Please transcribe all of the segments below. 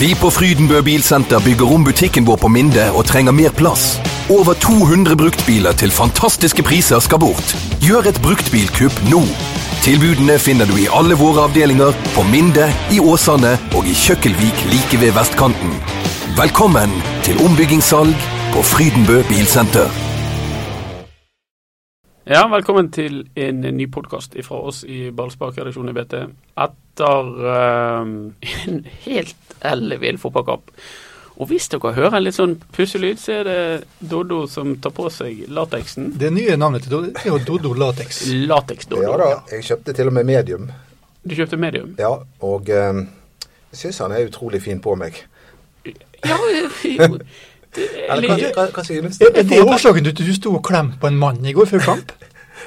Vi på Frydenbø Bilsenter bygger om butikken vår på Minde og trenger mer plass. Over 200 bruktbiler til fantastiske priser skal bort. Gjør et bruktbilkupp nå. Tilbudene finner du i alle våre avdelinger, på Minde, i Åsane og i Kjøkkelvik like ved vestkanten. Velkommen til ombyggingssalg på Frydenbø Bilsenter. Ja, velkommen til en ny podkast fra oss i Ballspark-redaksjonen i BT. Etter eh, en helt ellevill fotballkamp. Og hvis dere hører en litt sånn pusselyd, så er det Doddo som tar på seg lateksen. Det nye navnet til Dodo er jo Dodo Latex. Ja Lateks-Doddo. da, jeg kjøpte til og med medium. du kjøpte medium? Ja, og eh, jeg syns han er utrolig fin på meg. Ja, Eller hva, hva, hva synes du? Er er det årsaken til at du sto og klemte på en mann i går før kamp?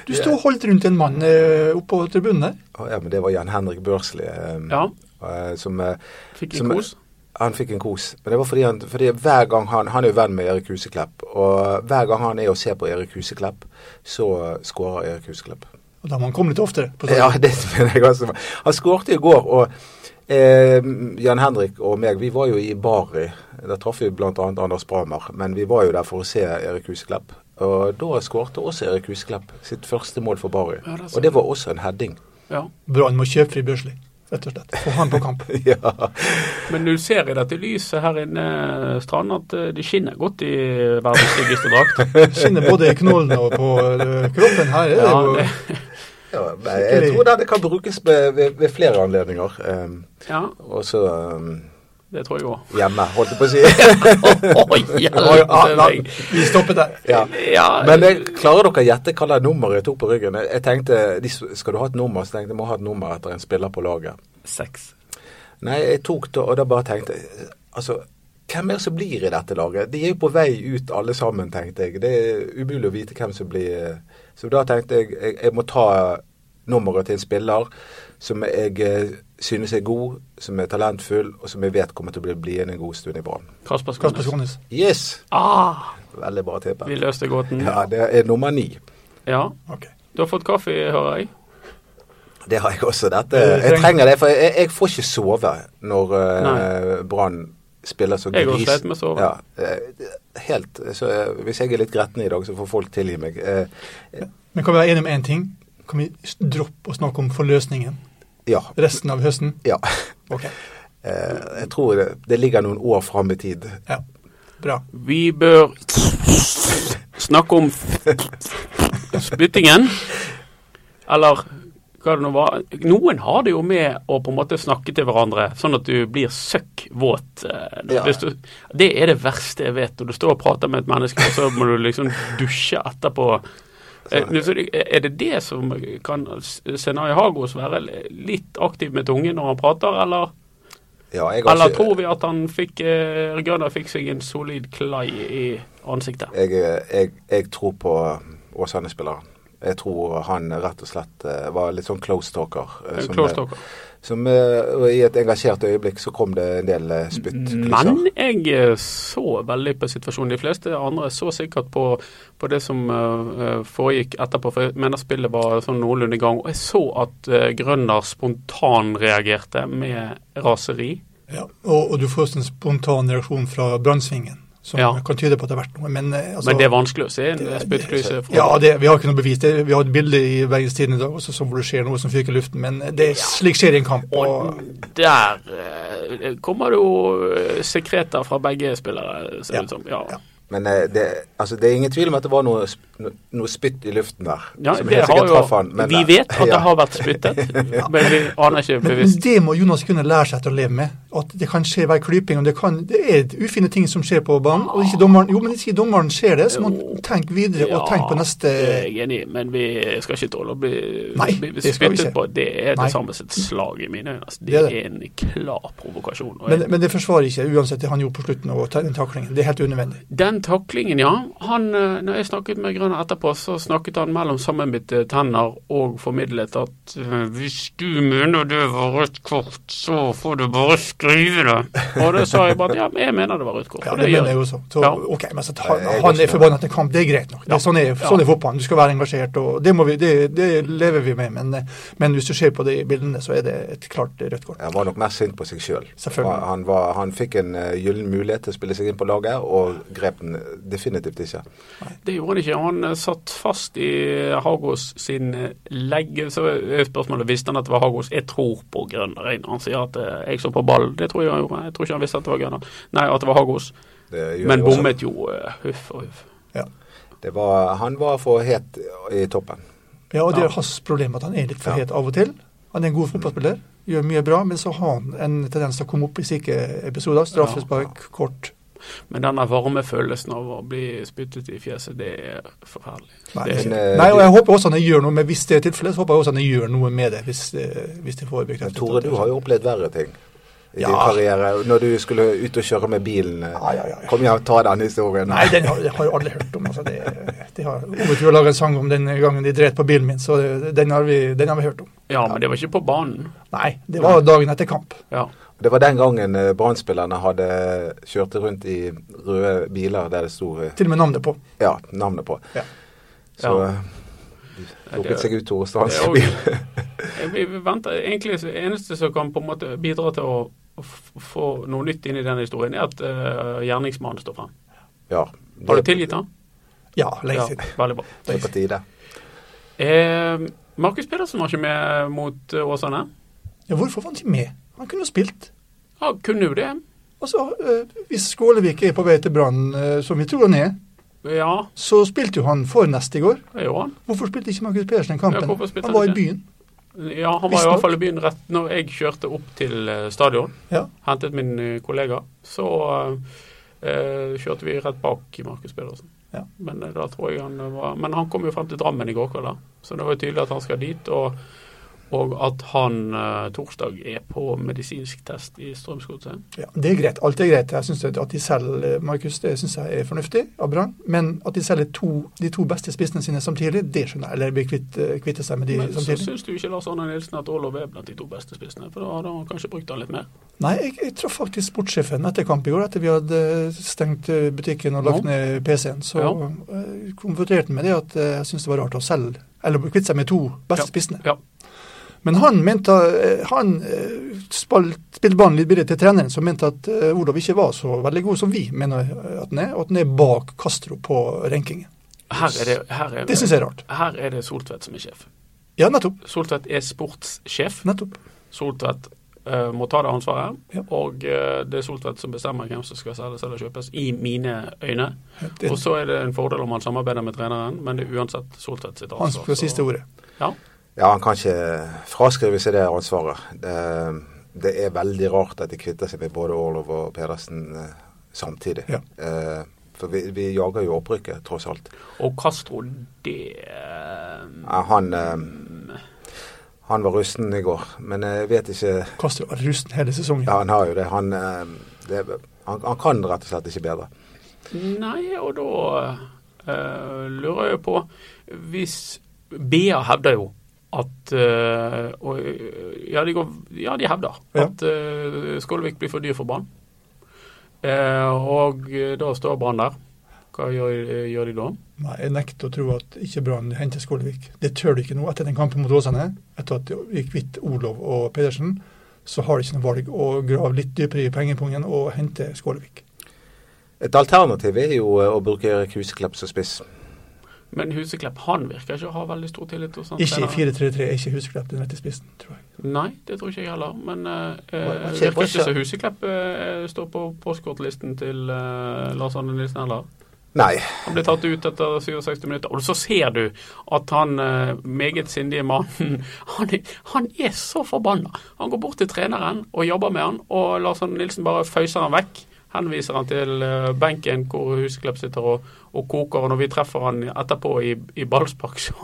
Du sto og holdt rundt en mann eh, oppe på tribunen der. Å, Ja, men det var Jan Henrik Børsli eh, ja eh, som eh, fikk som- en kos. Han fikk en kos. Men det var fordi han fordi hver gang han, han er jo venn med Erik Huseklepp. Og hver gang han er og ser på Erik Huseklepp, så eh, scorer Erik Huseklepp. Og da må han komme litt oftere. På sånn Ja, stadion. det mener jeg også. Han skårte i går, og eh, Jan Henrik og meg, vi var jo i Bari. Der traff vi bl.a. Anders Bramer, men vi var jo der for å se Erik Huseklepp. Og da skårte også Erik Huseklepp sitt første mål for Bari. Ja, det er sant. og det var også en heading. Ja. Brann må kjøpe Fri Børsli, rett og slett. Få han på kamp. ja. Men du ser i dette lyset her inne, Strand, at eh, det skinner godt i verdens styggeste drakt. Kjenner både i knollen og på eh, kroppen. Her er det Ja, jo det, ja, nei, jeg tror det kan brukes ved, ved, ved flere anledninger. Um, ja, og så um, det tror jeg òg. hjemme, holdt jeg på å si. Å, hjelpe meg! Vi stopper der. ja. Ja, Men jeg, klarer dere å gjette hva det nummeret jeg tok på ryggen? Jeg, jeg tenkte, de, s- Skal du ha et nummer, så tenkte jeg jeg må ha et nummer etter en spiller på laget. Seks. Nei, jeg tok det, og da bare tenkte jeg, Altså, hvem er det som blir i dette laget? De er jo på vei ut alle sammen, tenkte jeg. Det er umulig å vite hvem som blir eh, Så da tenkte jeg jeg, jeg må ta nummeret til en spiller som jeg eh, synes er god, som er talentfull, og som jeg vet kommer til å bli bliende en god stund i Brann. Kasper Kasper Skånes. Skånes. Yes! Ah, Veldig bra vi tippet. løste gåten. Ja. Ja, det er nummer ni. Ok. Du har fått kaffe, hører jeg. Det har jeg også. Dette. Ja, du Jeg trenger- trenger det, for jeg, jeg får ikke sove når eh, Nei. Brann spiller så Jeg har gris. slitt med å sove. Ja, eh, helt, så eh, Hvis jeg er litt gretten i dag, så får folk tilgi meg. Eh, Men kan vi være enige om én ting? Kan vi s- droppe å snakke om forløsningen ja. resten av høsten? ja. Ok. Eh, jeg tror det, det ligger noen år fram i tid. Ja. Bra. Vi bør snakke om spyttingen. Eller hva det nå var. Noen har det jo med å på en måte snakke til hverandre, sånn at du blir søkk våt. eh, Ja. Hvis du, det er det verste jeg vet. Når du står og prater med et menneske, og så må du liksom dusje etterpå. Eh, nå, så det- Er det det som kan Senaya Hagos være litt aktiv med tungen når han prater, eller? Ja, jeg har Eller ikke- tror vi at han fikk eh, Gunnar fikk seg en solid klai i ansiktet? Jeg, eh, jeg, jeg tror på Åsane-spilleren. Jeg tror han rett og slett eh, var litt sånn close talker. eh, En som, close eh, talker. Som eh, og i et engasjert øyeblikk så kom det en del eh, Mm. spyttklyser. Men jeg eh, så veldig på situasjonen. De fleste andre så sikkert på, på det som eh, eh, foregikk etterpå, for jeg mener spillet var sånn noenlunde i gang. Og jeg så at uh, Grønner spontanreagerte med raseri. Ja, og, og du får en spontan reaksjon fra brannsvingen, som Ja. kan tyde på at det har vært noe. Men, eh, altså, Men det er vanskelig å se en det- spyttklyse fra Ja, det, vi har ikke noe bevis. Det, vi har et bilde i Bergens Tidende i dag også, som hvor det skjer noe som fyker i luften. Men det er slik skjer i en kamp. Og Og, der eh, kommer det jo eh, sekreter fra begge spillere, ser Ja. det ut som. Ja. Ja. Men eh, det, altså, det er ingen tvil om at det var noe, sp- no- noe spytt i luften der. Ja, som det helt har sikkert jo, traff han. men- eh, vi vet at ja. det har vært spyttet, men vi aner ikke men, bevisst. men det må Jonas kunne lære seg til å leve med. At det kan skje hver klyping. Og det, kan, det er ufine ting som skjer på banen. Og ikke dommeren, jo, men ikke dommeren ser det, så må Jo. man tenke videre og tenke på neste det er jeg enig i, men vi skal ikke tåle å bli, Nei, bli det skal vi spyttet ikke. på. Det er Nei. det samme som et slag i mine øyne. Altså, det, Det er det. er en klar provokasjon. og men, jeg- men det forsvarer ikke uansett det han gjorde på slutten og ta- den taklingen. Det er helt unødvendig. Den taklingen, ja. Han, eh, når jeg snakket med Grønn sekunder etterpå så snakket han mellom sammenbitte tenner og formidlet at eh, hvis du mener det var rødt kort, så får du bare skrive det. Og da sa jeg bare at ja, men jeg mener det var rødt kort. Ja, og det gjør mener jeg også. Så, Ja. ok, men så tar, Nei, jeg er Han ikke er forbanna til kamp, det er greit nok. Det Ja. er sånn er, sånn er fotballen. Du skal være engasjert, og det, må vi, det, det lever vi med. Men, men hvis du ser på de bildene, så er det et klart rødt kort. Han var nok mest sint på seg sjøl. Selvfølgelig. Han, han var- han fikk en eh, gyllen mulighet til å spille seg inn på laget, og grep den eh, definitivt ikke. Det gjorde han ikke. Han eh, satt fast i Hagos sin eh, legge. Så er spørsmålet visste han at det var Hagos. Jeg tror på Grønner. jeg, når Han sier at eh, jeg så på ball. Det tror jeg han gjorde. Jeg tror ikke han visste at det var Grønner. Nei, at det var Hagos. Det gjør Men jo også- bommet jo eh, huff og huff. Ja, Det var, han var for het i toppen. ja og det Ja. er hans problem at han er litt for Ja. het av og til. Han er en god fotballspiller, gjør mye bra, men så har han en tendens til å komme opp i slike episoder. Straffespark, kort. Men denne varme følelsen av å bli spyttet i fjeset, det er forferdelig. Nei, Det- Men, eh, Nei, og jeg håper også han gjør noe med Hvis det er tilfellet, så håper jeg også han gjør noe med det. Hvis, eh, hvis det får Men bekreftet. Tore, at det- du har jo opplevd verre ting i din Ja. karriere. Når du skulle ut og kjøre med bilen. eh, Ja, ja, ja, ja. Kom igjen, ta den historien. Nei, den har, den har jo alle hørt om. Altså. Det, det har Ovetur laga en sang om den gangen de dreit på bilen min, så det, den, har vi, den har vi hørt om. Ja, men det var ikke på banen. Nei, det var dagen etter kamp. Ja. Det var den gangen eh, Brann-spillerne hadde kjørte rundt i røde biler der det sto eh, Til og med navnet på. ja, navnet på. Ja. Så Ja. eh, de Det- lukket seg ut Tore Stans Det er jo- bil. Jeg- Vi vi venter egentlig så eneste som kan på en måte bidra til å f- få noe nytt inn i den historien, er at eh, gjerningsmannen står frem. Ja, Har du tilgitt ham? Ja, lenge Ja, siden. veldig bra. Det er på tide. Eh, Markus Pedersen var ikke med mot eh, Åsane. Ja, hvorfor var han ikke med? Han kunne jo spilt. Ja, kunne jo det. Og så, eh, hvis Skålevik er på vei til Brann, eh, som vi tror han er, Ja, så spilte jo han for neste i går. det gjorde han. Hvorfor spilte ikke Markus Pedersen den kampen? Ja, hvorfor spilte han han var i ikke? byen. Ja, Han var i Visst nok. hvert fall i byen rett når jeg kjørte opp til eh, stadion. Ja. Hentet min eh, kollega. Så eh, kjørte vi rett bak i Markus Pedersen. Ja. Men eh, da tror jeg han var Men han kom jo frem til Drammen i går kveld, da. Så det var jo tydelig at han skal dit. Og, og at han eh, torsdag er på medisinsk test i Strømsgodset. Ja, det er greit. Alt er greit. Jeg synes at at de selger Markus, det synes jeg er fornuftig av Brann. Men at de selger to, de to beste spissene sine samtidig, det skjønner jeg. Eller blir kvitt, eh, kvitte seg med de Men så samtidig. syns du ikke Lars Arne Nilsen at Olof er blant de to beste spissene, for da hadde han kanskje brukt han litt mer. Nei, jeg, jeg traff faktisk sportssjefen etter kamp i går, etter vi hadde stengt eh, butikken og lagt Ja. ned PC-en. Så Ja. eh, konfronterte han med det at eh, jeg syntes det var rart å selge, eller kvitte seg med to beste spissene. Ja. Men han mente, eh, han eh, spalt- spilte ballen litt videre til treneren, som mente at eh, Olav ikke var så veldig god som vi mener eh, at han er, og at han er bak Castro på rankingen. Her er det, her er Det syns jeg er rart. Her er det Soltvedt som er sjef. Ja, nettopp. Soltvedt er sportssjef. nettopp. Soltvedt eh, må ta det ansvaret. Ja. Og eh, det er Soltvedt som bestemmer hvem som skal selges eller kjøpes, i mine øyne. Det, Og så er det en fordel om han samarbeider med treneren, men det er uansett Soltvedt sitt han ansvar. får siste så- ordet. Ja. Ja, han kan ikke fraskrive seg det ansvaret. Det, det er veldig rart at de kvitter seg med både Orlov og Pedersen eh, samtidig. Ja. Eh, for vi, vi jager jo opprykket, tross alt. Og Castro, det eh, Eh, han, eh, han var rusten i går, men jeg vet ikke Castro var rusten hele sesongen. Ja, han har jo det. Han, eh, det han, han kan rett og slett ikke bedre. Nei, og da eh, lurer jeg på Hvis BA hevder jo at eh, og, eh, ja, de går, ja, de hevder Ja. at uh, Skålevik blir for dyr for Brann. Eh, og eh, da står Brann der. Hva gjør, eh, gjør de da? Nei, Jeg nekter å tro at ikke Brann henter Skålevik. Det tør de ikke nå. Etter den kampen mot Åsane, etter at de gikk kvitt Olov og Pedersen, så har de ikke noe valg å grave litt dypere i pengepungen og hente Skålevik. Et alternativ er jo eh, å bruke Erik Huseklepp som spiss. Men Huseklepp han virker ikke å ha veldig stor tillit hos han Ikke i treneren. 4-3-3, er ikke Huseklepp den rette spissen, tror jeg. Nei, det tror ikke jeg heller. Men eh, Hva- hva skjer- virker hva ikke skjer? som Huseklepp eh, står på postkortlisten til eh, Lars Arne Nilsen heller. Nei, Han ble tatt ut etter 67 minutter. Og så ser du at han eh, meget sindige mannen han, er- han er så forbanna. Han går bort til treneren og jobber med han, og Lars Arne Nilsen bare føyser han vekk. Henviser han til eh, benken hvor Huseklepp sitter og, og koker. Og når vi treffer han etterpå i, i ballspark, så,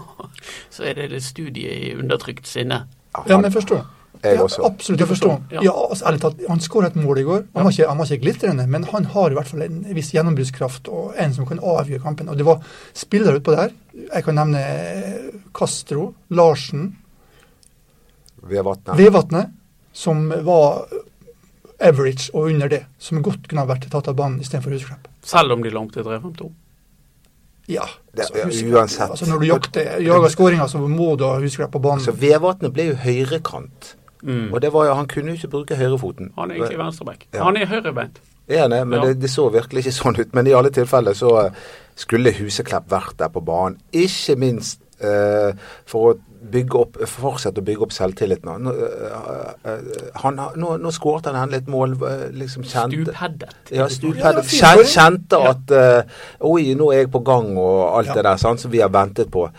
så er det litt studie i undertrykt sinne. ja, Ja, han- men jeg forstår. jeg Ja, også. Absolutt, Du jeg forstår. forstår, Ja. ja. altså, ærlig talt, Han skåra et mål i går. Han var, ikke, han var ikke glitrende, men han har i hvert fall en viss gjennombruddskraft og en som kan avgjøre kampen. Og Det var spillere utpå der. Jeg kan nevne eh, Castro, Larsen, Vi har vattnet. Vevatnet, som var average og under det. Som godt kunne ha vært tatt av banen istedenfor Husklepp. Selv om de langte 3-5-2. Ja, Det- altså, ja, Husklepp- uansett. Altså, når du jakter, jager skåringer, så må du ha Husklepp på banen. Så Vevatnet ble jo høyrekant. Mm. Og det var jo, han kunne jo ikke bruke høyrefoten. Han er egentlig venstreback. Ja. Han er høyrebeint. Ja, nei, men Ja. det, det så virkelig ikke sånn ut. Men i alle tilfeller så eh, skulle Huseklepp vært der på banen. Ikke minst eh, for å bygge opp, fortsette å bygge opp selvtilliten. Nå, eh, eh, han, har- nå, nå skåret han endelig et mål. eh, Liksom kjente, Stupheadet. ja, Ja, det var stupet, fint. kjente, kjente at eh, Oi, nå er jeg på gang og alt Ja. det der sant, som vi har ventet på.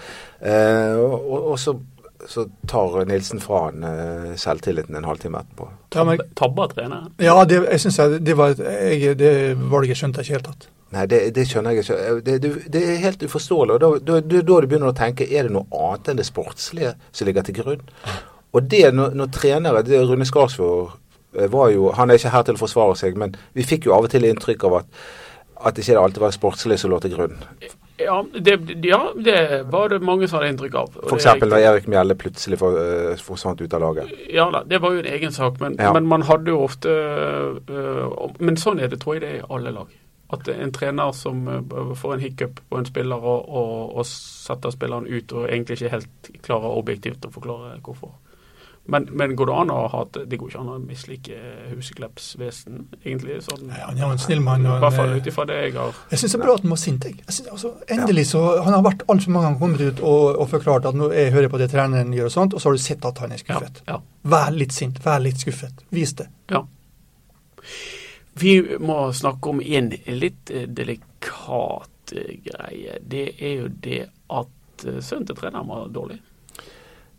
Eh, og, og så, så tar Nilsen fra han eh, selvtilliten en halvtime etterpå. Ja, men, Tabba treneren. ja det, jeg synes jeg, det var et jeg, det valget skjønte jeg ikke helt tatt. Nei, det, det skjønner jeg ikke. Eh, Det, det, det er helt uforståelig. Og da, da, da da du begynner å tenke er det noe annet enn det sportslige som ligger til grunn. Og det når, når trenere det Rune Skarsvåg eh, var jo Han er ikke her til å forsvare seg, men vi fikk jo av og til inntrykk av at at ikke det alltid var det sportslige som lå til grunn. Ja det, ja, det var det mange som hadde inntrykk av. og det er F.eks. da riktig. Erik Mjelde plutselig for- eh, forsvant ut av laget. Ja da, det var jo en egen sak, men, Ja. men man hadde jo ofte øh, Men sånn er det, tror jeg det er i alle lag. At en trener som øh, får en hiccup på en spiller og, og, og setter spilleren ut, og egentlig ikke helt klarer objektivt å forklare hvorfor. Men, men går det an å ha at det går ikke an å mislike Huseklepps vesen, egentlig? sånn... Nei, Han er jo en snill mann. I og hvert fall en, eh, ut ifra det jeg har Jeg syns det er bra at han var sint. jeg. jeg synes, altså, endelig så, Han har vært altfor mange ganger kommet ut og, og forklart at nå jeg hører på det treneren gjør, og sånt, og så har du sett at han er ja, skuffet. ja, Vær litt sint, vær litt skuffet. Vis det. ja. Vi må snakke om en litt eh, delikat eh, greie. Det er jo det at eh, sønnen til treneren var dårlig.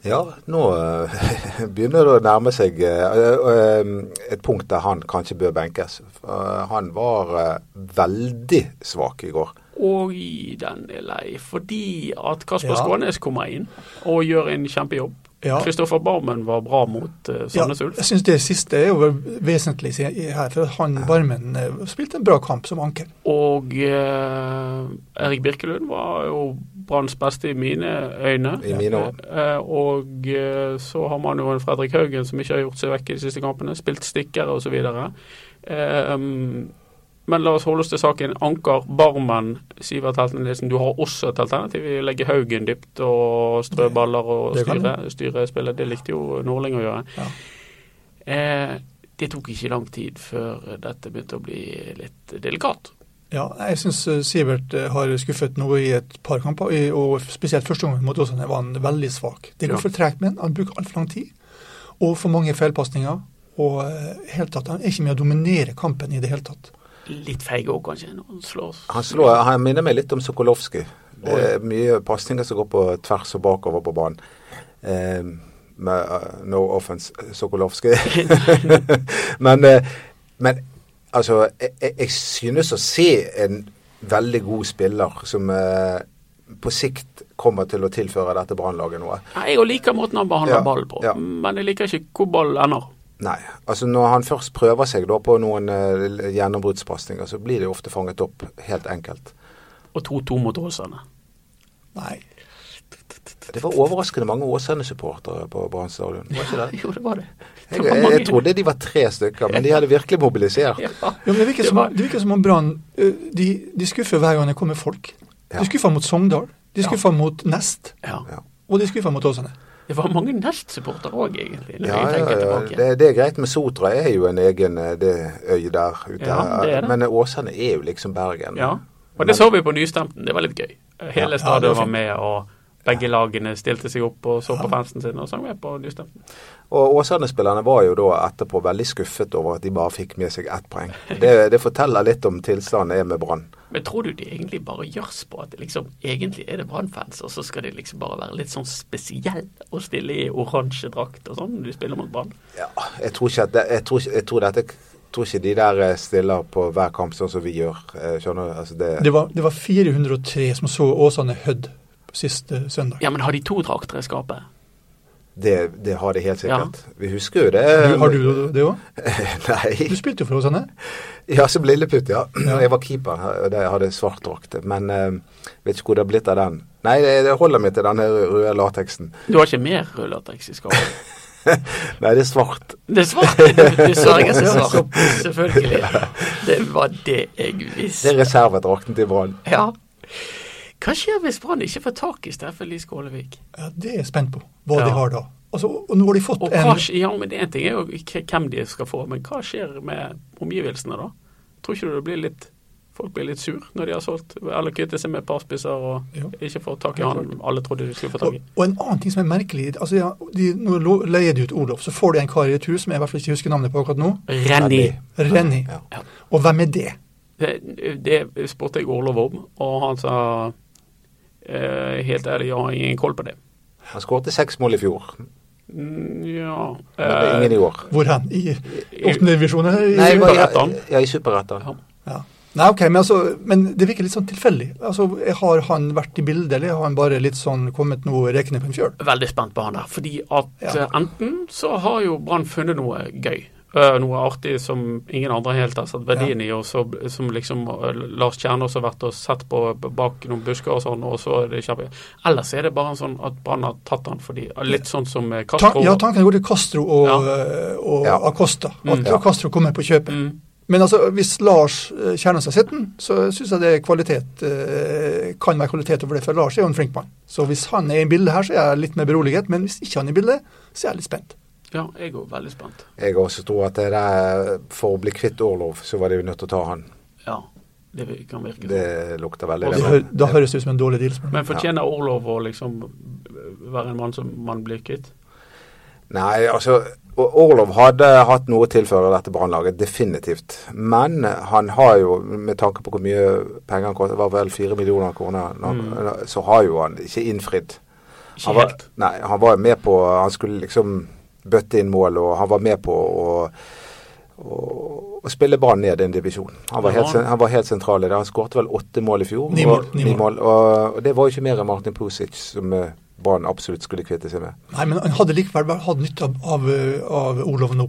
Ja, nå eh, begynner det å nærme seg eh, eh, et punkt der han kanskje bør benkes. Eh, han var eh, veldig svak i går. Og i den er lei, fordi at Kasper Ja. Skånes kommer inn og gjør en kjempejobb. Ja. Kristoffer Barmen var bra mot eh, Ja, Sandnes Ulf. jeg syns det siste er jo vesentlig se- i- her, for han Barmen eh, spilte en bra kamp som anker. Og eh, Erik Birkelund var jo Branns beste i mine øyne. I mine år. Eh, og eh, så har man jo en Fredrik Haugen som ikke har gjort seg vekk i de siste kampene. Spilt stikkere osv. Eh, um, men la oss holde oss til saken. Anker, Barmen, Sivert Helten Nilsen. Du har også et alternativ i å legge Haugen dypt og strø baller og Det kan styre, styre spillet. Det likte jo Norling å gjøre. Ja. Eh, det tok ikke lang tid før dette begynte å bli litt delikat. Ja, jeg syns Sivert eh, har skuffet noe i et par kamper, i- og spesielt første gangen mot Åsane var han veldig svak. Det Ja. går for tregt med han, han bruker altfor lang tid, og for mange feilpasninger. Og eh, helt tatt, han er ikke med å dominere kampen i det hele tatt. Litt feig òg, kanskje, når han slår Han, slår, han minner meg litt om Sokolovskij. Det er mye pasninger som går på tvers og bakover på banen. Eh, med eh, no offense, Sokolovskij. men, eh, men altså, jeg, jeg- jeg synes å se en veldig god spiller som eh, på sikt kommer til å tilføre dette brannlaget noe. Nei, Jeg liker måten han behandler Ja, ballen på, ja. men jeg liker ikke hvor ballen ender. Nei. altså Når han først prøver seg da på noen eh, gjennombruddspasninger, så blir det jo ofte fanget opp helt enkelt. Og 2-2 mot Åsane. Nei. Det var overraskende mange Åsane-supportere på Brann stadion. var ikke det? Jo, det var det. Det Jeg, var jeg, mange. jeg trodde de var tre stykker, men de hadde virkelig mobilisert. Ja. Ja, men det virker Det som, var- det virker som om Brann eh, de, de skuffer hver gang det kommer folk. Ja. De skuffer mot Sogndal, de skuffer mot Nest, Ja. Ja. og de skuffer mot Åsane. Det var mange Nest-supportere òg, egentlig. Når Ja, jeg ja, tenker ja. tilbake. Det, det er greit med Sotra, er jo en egen eh, det øy der ute. Ja, det er det. Men eh, Åsane er jo liksom Bergen. Ja. Og det så vi på Nystemten, det var litt gøy. Hele det var stadion var fint. med, og begge lagene stilte seg opp og så på fansen sin og sang med på Nystemten. Og Åsane-spillerne var jo da etterpå veldig skuffet over at de bare fikk med seg ett poeng. Det, det forteller litt om tilstanden er med Brann. Men tror du de egentlig bare gjørs på at det liksom, egentlig er det Brann-fans, og så skal de liksom bare være litt sånn spesielle og stille i oransje drakt og sånn når de spiller mot Brann? Ja, jeg tror ikke at det, jeg tror, ikke- jeg tror dette tror ikke de der eh, stiller på hver kamp sånn som vi gjør. Eh, Skjønner du? Altså det, Det var, det var 403 som så Åsane Hødd sist eh, søndag. Ja, men har de to drakter i skapet? Det, det har det helt sikkert. Vi husker jo det. Eh, Du, har du det òg? Du Nei. spilte jo for Åsane. Ja, som Lilleputt, ja. Jeg var keeper og jeg hadde svart drakt. Men eh, vet ikke hvor det har blitt av den. Nei, det det holder meg til denne røde lateksen. Du har ikke mer rød lateks i skapet? Nei, det er svart. Det er svart! Du sverger seg svart. Selvfølgelig. Det var det jeg Det visste. er reservedrakten til Brann. Ja. Hva skjer hvis Brann ikke får tak i Steffen Lie Skålevik? Ja, det er jeg spent på, hva Ja. de har da. Altså, og nå har de fått Og en hva, skj- ja, men En ting er jo k- hvem de skal få, men hva skjer med omgivelsene da? Tror ikke du det blir litt Folk blir litt sur når de har solgt eller kvittet seg med et par spisser og Jo. ikke får tak i han alle trodde de skulle få tak og, i. og en annen ting som er merkelig altså, ja, de, Nå lo- leier de ut Olof, så får de en kar i retur som jeg i hvert fall ikke husker navnet på akkurat nå. Renny. Renny. Ja. Og hvem er det? Det, det spurte jeg Orlov om, og han sa eh, helt ærlig, jeg har ingen koll på det. Han skårte seks mål i fjor, Mm, ja eh, men det er ingen i år. Hvor hen? I åttende divisjon? eller Eh, i- Nei, hva- ja, Superettan. Ja, i Superettan. Ja. Nei, ok, men, altså, men det virker litt sånn tilfeldig. Altså, har han vært i bildet, eller har han bare litt sånn kommet noe rekende på en fjøl? veldig spent på han der. Fordi at Ja. eh, enten så har jo Brann funnet noe gøy. eh, noe artig som ingen andre helt har sett verdien i, og så, som liksom eh, Lars Kjernås har vært og sett på b- bak noen busker og sånn, og så er det kjappe. Ellers er det bare sånn at Brann har tatt han fordi Litt sånn som eh, Ta, Castro. ja, tanken går til Castro og, eh, og Ja. Acosta. At Mm. Ja. Castro kommer på kjøpet. Mm. Men altså, hvis Lars eh, Kjernås har sett den, så syns jeg det er kvalitet, eh, kan være kvalitet over det. For Lars er jo en flink mann. Så hvis han er i bildet her, så er jeg litt mer beroliget. Men hvis ikke han er i bildet, så er jeg litt spent. ja, jeg er jo veldig spent. Jeg også tror at det der, for å bli kvitt Orlov, så var de jo nødt til å ta han. Ja, det kan virke sånn. Det lukter veldig Og Da, så- det. hø- da høres det ut som en dårlig deal. spør du meg. Men fortjener Orlov å liksom være en mann som man blir kvitt? Nei, altså O- Orlov hadde hatt noe å tilføre dette brannlaget, definitivt. Men eh, han har jo, med tanke på hvor mye penger han kostet, det var vel fire millioner kroner, nå, Mm. så har jo han ikke innfridd. Ikke Han var, helt. nei, han var med på Han skulle liksom bøtte inn mål, og han var med på å, å, å spille Brann ned en divisjon. Han var, Ja. helt, sen- han var helt sentral i det. Han skårte vel åtte mål i fjor. Ni mål, og, ni ni mål. mål og, og det var jo ikke mer enn Martin Pusic som eh, Brann absolutt skulle kvitte seg med. Nei, men han hadde likevel bare hatt nytte av, av, eh, av Olof nå.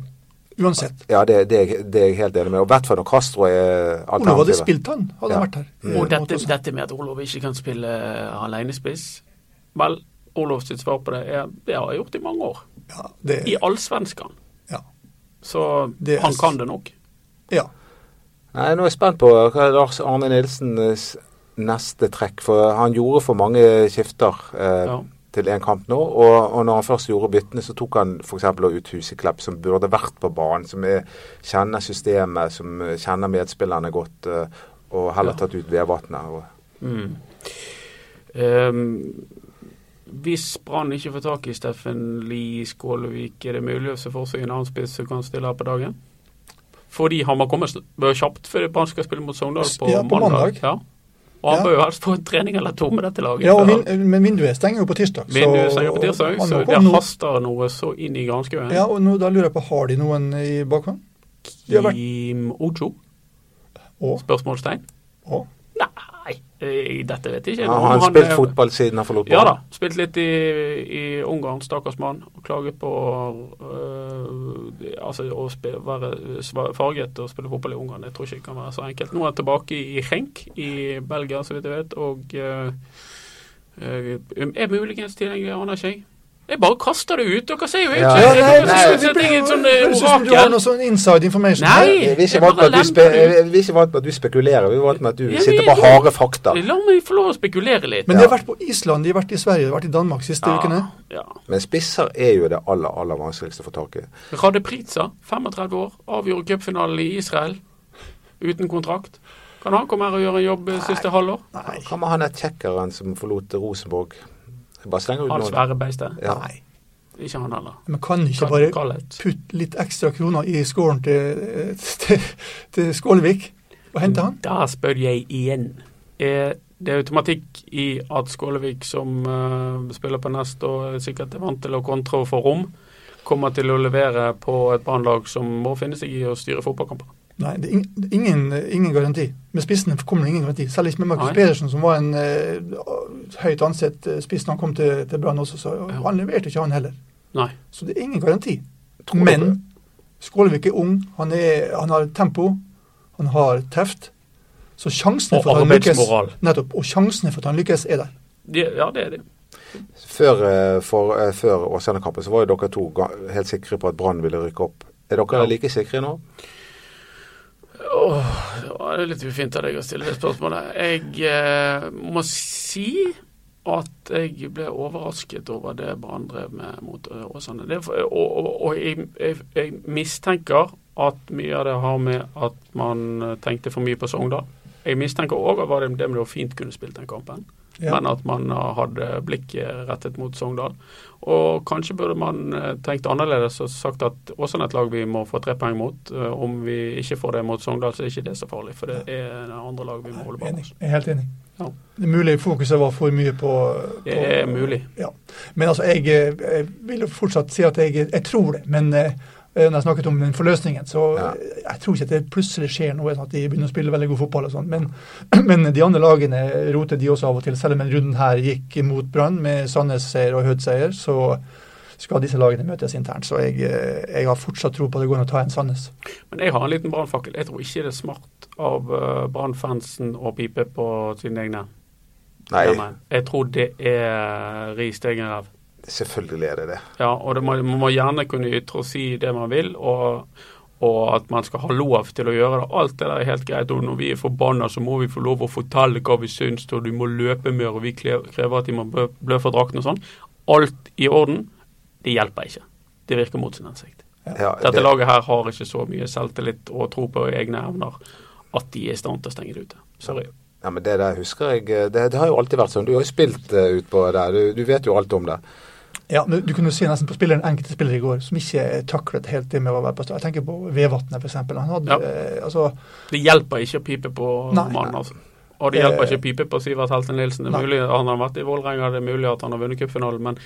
Uansett. Ja, det, det, er- det er jeg helt enig med. Og i hvert fall når Castro er Olof hadde alternativet. spilt han, hadde han Ja. vært her. Mm. Og Mot dette, oss. dette med at Olof ikke kan spille alenespiss Vel, Olofs sitt svar på det er det har jeg gjort i mange år. Ja, det, I Allsvenskan. ja. Så Det er- han kan det nok. ja. Nei, nå er jeg spent på hva er Lars Arne Nilsens neste trekk. For han gjorde for mange skifter eh, Ja. til én kamp nå. Og, og når han først gjorde byttene, så tok han f.eks. ut Huseklepp, som burde vært på banen. Som er, kjenner systemet, som eh, kjenner medspillerne godt. Eh, og heller tatt ut Vevatnet. Og, Mm. Ehm, hvis Brann ikke får tak i Steffen Lie Skålevik, er det mulig å se for seg en annen spiss som kan stille her på dagen? Fordi han må komme s- bør kjapt før Brann skal spille mot Sogndal på, Ja, på mandag. Ja. Og han Ja. bør jo helst få en trening eller to med dette laget. ja og før han- vin, men vinduet stenger jo på tirsdag. så- Vinduet stenger på tirsdag, han så må det komme nå. haster noe så inn i granskauen. Ja, og nå, da lurer jeg på, har de noen i bakhånd? de har vært- Kim Ojo? Og, Spørsmålstegn? og. Nei, eh, dette vet jeg ikke. har Om han spilt eh, fotball siden han forlot Ja da, banen? spilt litt i, i Ungarn, stakkars mann. Og klaget på eh, altså, å spe, være sva- farget og spille fotball i Ungarn. Jeg tror ikke det kan være så enkelt. Nå er han tilbake i Genk i Belgia, så vidt jeg vet, og eh, eh, er muligens tilgjengelig, aner ikke jeg. Jeg bare kaster det ut, dere ser jo ikke Ja. Ja, nei, Dere nei, synes det at jeg blir er jo en sånn eh, høres ut som du har orakel. noe sånn inside information. Nei! her. Vi Jeg er ikke vant med bare at du, spe lemper vi er ikke vant med at du spekulerer, vi er vant med at du Ja, sitter vi- på harde fakta. La meg få lov å spekulere litt. Men de har Ja. vært på Island, de har vært i Sverige, de har vært i Danmark de siste ukene. Ja. Men spisser er jo det aller, aller vanskeligste å få tak i. Radeprica, 35 år, avgjorde cupfinalen i Israel uten kontrakt. Kan han komme her og gjøre en jobb eh, siste halvår? Nei. Hva med han der tsjekkeren som forlot Rosenborg? Jeg bare slenger ut Han noen. svære beistet. Ja. Nei. Ikke han heller. Men kan ikke Kan- bare Kallet. putte litt ekstra kroner i skåren til, eh, til, til Skålevik og hente han? Da spør jeg igjen. Er det automatikk i at Skålevik, som eh, spiller på nest og sikkert er vant til å kontre og få rom, kommer til å levere på et brannlag som må finne seg i å styre fotballkamper? Nei, det er ing- det er ingen, ingen garanti. Med spissen kommer det ingen garanti. Selv ikke med Nei. Markus Pedersen, som var en eh, høyt ansett eh, spiss da han kom til, til Brann også. Så han leverte ikke, han heller. Nei. Så det er ingen garanti. Tror du på det? Men Skålevik er ung, han, er, han har tempo, han har teft. Så sjansene Og for at han lykkes arbeidsmoral. Nettopp. Og sjansene for at han lykkes, er der. De, ja, det er det. Før, eh, for, eh, før Åsane-kampen så var jo dere to ga- helt sikre på at Brann ville rykke opp. Er dere Ja. like sikre nå? Åh, det var litt ufint av deg å stille det spørsmålet. Jeg eh, må si at jeg ble overrasket over det Brann drev med mot eh, Åsane. Det, er for- og og, og jeg, jeg, jeg mistenker at mye av det har med at man eh, tenkte for mye på Sogndal. Jeg mistenker òg at det det fint kunne spilt den kampen, Ja. men at man eh, hadde blikket rettet mot Sogndal. Og kanskje burde man eh, tenkt annerledes og sagt at Åsane er et lag vi må få tre poeng mot. Eh, Om vi ikke får det mot Sogndal, så er ikke det så farlig, for det er det andre lag vi må holde bak Enig. oss. Jeg er helt enig. Ja. Det er mulig fokuset var for mye på, på Det er mulig. Ja. Men altså, jeg, eh, jeg vil jo fortsatt si at jeg, jeg tror det. Men eh, når jeg snakket om den forløsningen, så Ja. eh, jeg tror ikke at det plutselig skjer noe, sånn at de begynner å spille veldig god fotball og sånn. Men, men de andre lagene roter de også av og til. Selv om den runden her gikk mot Brann med Sandnes-seier og Hødd-seier, så skal disse lagene møtes internt. Så jeg, eh, jeg har fortsatt tro på at det går an å ta en Sandnes. Men jeg har en liten brannfakkel. Jeg tror ikke det er smart av eh, Brann-fansen å pipe på sine egne. Nei, Jammen. Jeg tror det er ris til egen ræv. selvfølgelig er det det. Ja, og det, man, man må gjerne kunne ytre og si det man vil, og, og at man skal ha lov til å gjøre det. Alt det der er helt greit. Og når vi er forbanna, så må vi få lov å fortelle hva vi syns, og du må løpe mer, og vi kle- krever at de må blø- blø for drakten og sånn. Alt i orden. Det hjelper ikke. Det virker mot sin hensikt. Ja, Dette det- laget her har ikke så mye selvtillit og tro på egne evner at de er i stand til å stenge det ute. Sorry. Ja, men Det der husker jeg eh, det, det har jo alltid vært sånn. Du har jo spilt eh, utpå der. Du, du vet jo alt om det. Ja, men Du kunne se nesten på spilleren, enkelte spillere i går som ikke taklet helt det med å være på stad. Jeg tenker på Vevatnet, f.eks. Han hadde Ja. eh, altså, Det hjelper ikke å pipe på Nei. mannen, altså. Og det Eh, hjelper ikke å pipe på Sivert Helten Nilsen. Det nei. er mulig at han har vært i Vålerenga, det er mulig at han har vunnet cupfinalen, men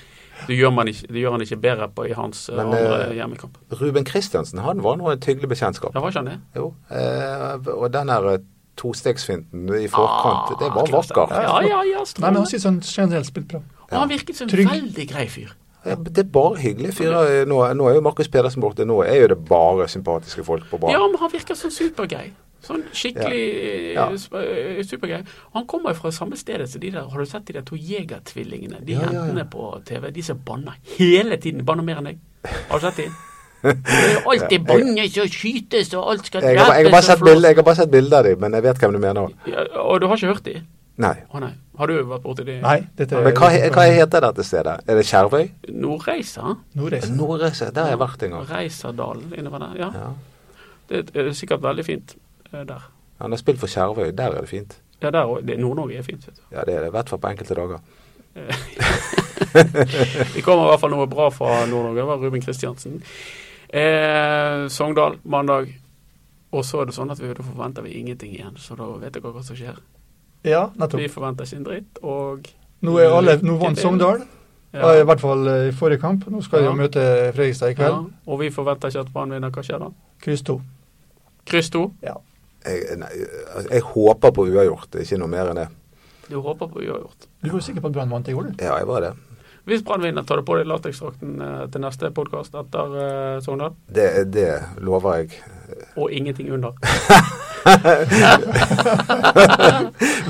det gjør, man ikke, det gjør han ikke bedre på i hans eh, Men, eh, andre hjemmekamp. Ruben Kristiansen han var nå et hyggelig bekjentskap. Ja, var ikke han det? Jo, eh, og den der eh, tostegsfinten i forkant, det var klasse. vakkert. Ah, Ja, ja, ja. Nei, men han strålende. synes han generelt spilt bra. Og han virket som en Trygg. veldig grei fyr. Ja, Det er bare hyggelige fyrer. Nå, nå er jo Markus Pedersen borte. Nå er jo det bare sympatiske folk på Ja, banen. men han virker sånn supergrei. Sånn skikkelig Ja. Ja. eh, sp- eh, supergrei. Han kommer fra samme stedet som de der Har du sett de der to jegertvillingene? De Ja, ja, ja. jentene på TV. De som banner hele tiden. Banner mer enn deg. Har du sett de? Det er jo alltid bannes og skytes og alt skal Jeg har, bare- jeg, har bare drepes og sett bilder, jeg har bare sett bilder av dem, men jeg vet hvem du mener. flås. Ja, og du har ikke hørt de? Nei. Å nei. Har du vært borti de? Nei, dette liksom Men hva, he- hva heter dette stedet? Er det Skjervøy? Nordreisa? Nordreisen. Nordreise, der har jeg vært en gang. Reisadalen innover der. Ja. Ja. Det er eh, sikkert veldig fint eh, der. Han har spilt for Skjervøy, der er det fint. Ja, der òg. Nord-Norge er fint, vet du. Ja, det er det, i hvert fall på enkelte dager. Eh, Det kommer i hvert fall noe bra fra Nord-Norge. Det var Ruben Kristiansen. Eh, Sogndal mandag. Og så er det sånn at vi, da forventer vi ingenting igjen, så da vet dere hva som skjer. Ja, Vi nettopp. forventer ikke en dritt, og Nå er alle, nå vant Til- Sogndal, ja, i hvert fall eh, i forrige kamp. Nå skal de Ja. jo møte Fredrikstad i ja, kveld. og vi forventer ikke at Brann vinner. Hva skjer da? Kryss to. Kryss to. Ja. Jeg, nei, altså, jeg håper på uavgjort, ikke noe mer enn det. Du håper på uavgjort. Du var jo sikker på at Brann vant i går, du? Ja, jeg var det. Hvis Brann vinner, tar du på deg lateksdrakten eh, til neste podkast etter eh, Sogndal, Det, det lover jeg. og ingenting under.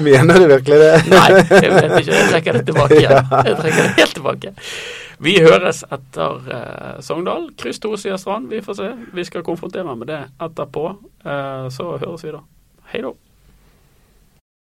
Mener du virkelig det? Nei, jeg vet ikke. Jeg trekker det tilbake igjen. Jeg trekker det helt tilbake. Vi høres etter eh, Sogndal. Kryss to, sier Strand. Vi får se. Vi skal konfrontere med det etterpå. Eh, så høres vi da. Hei da.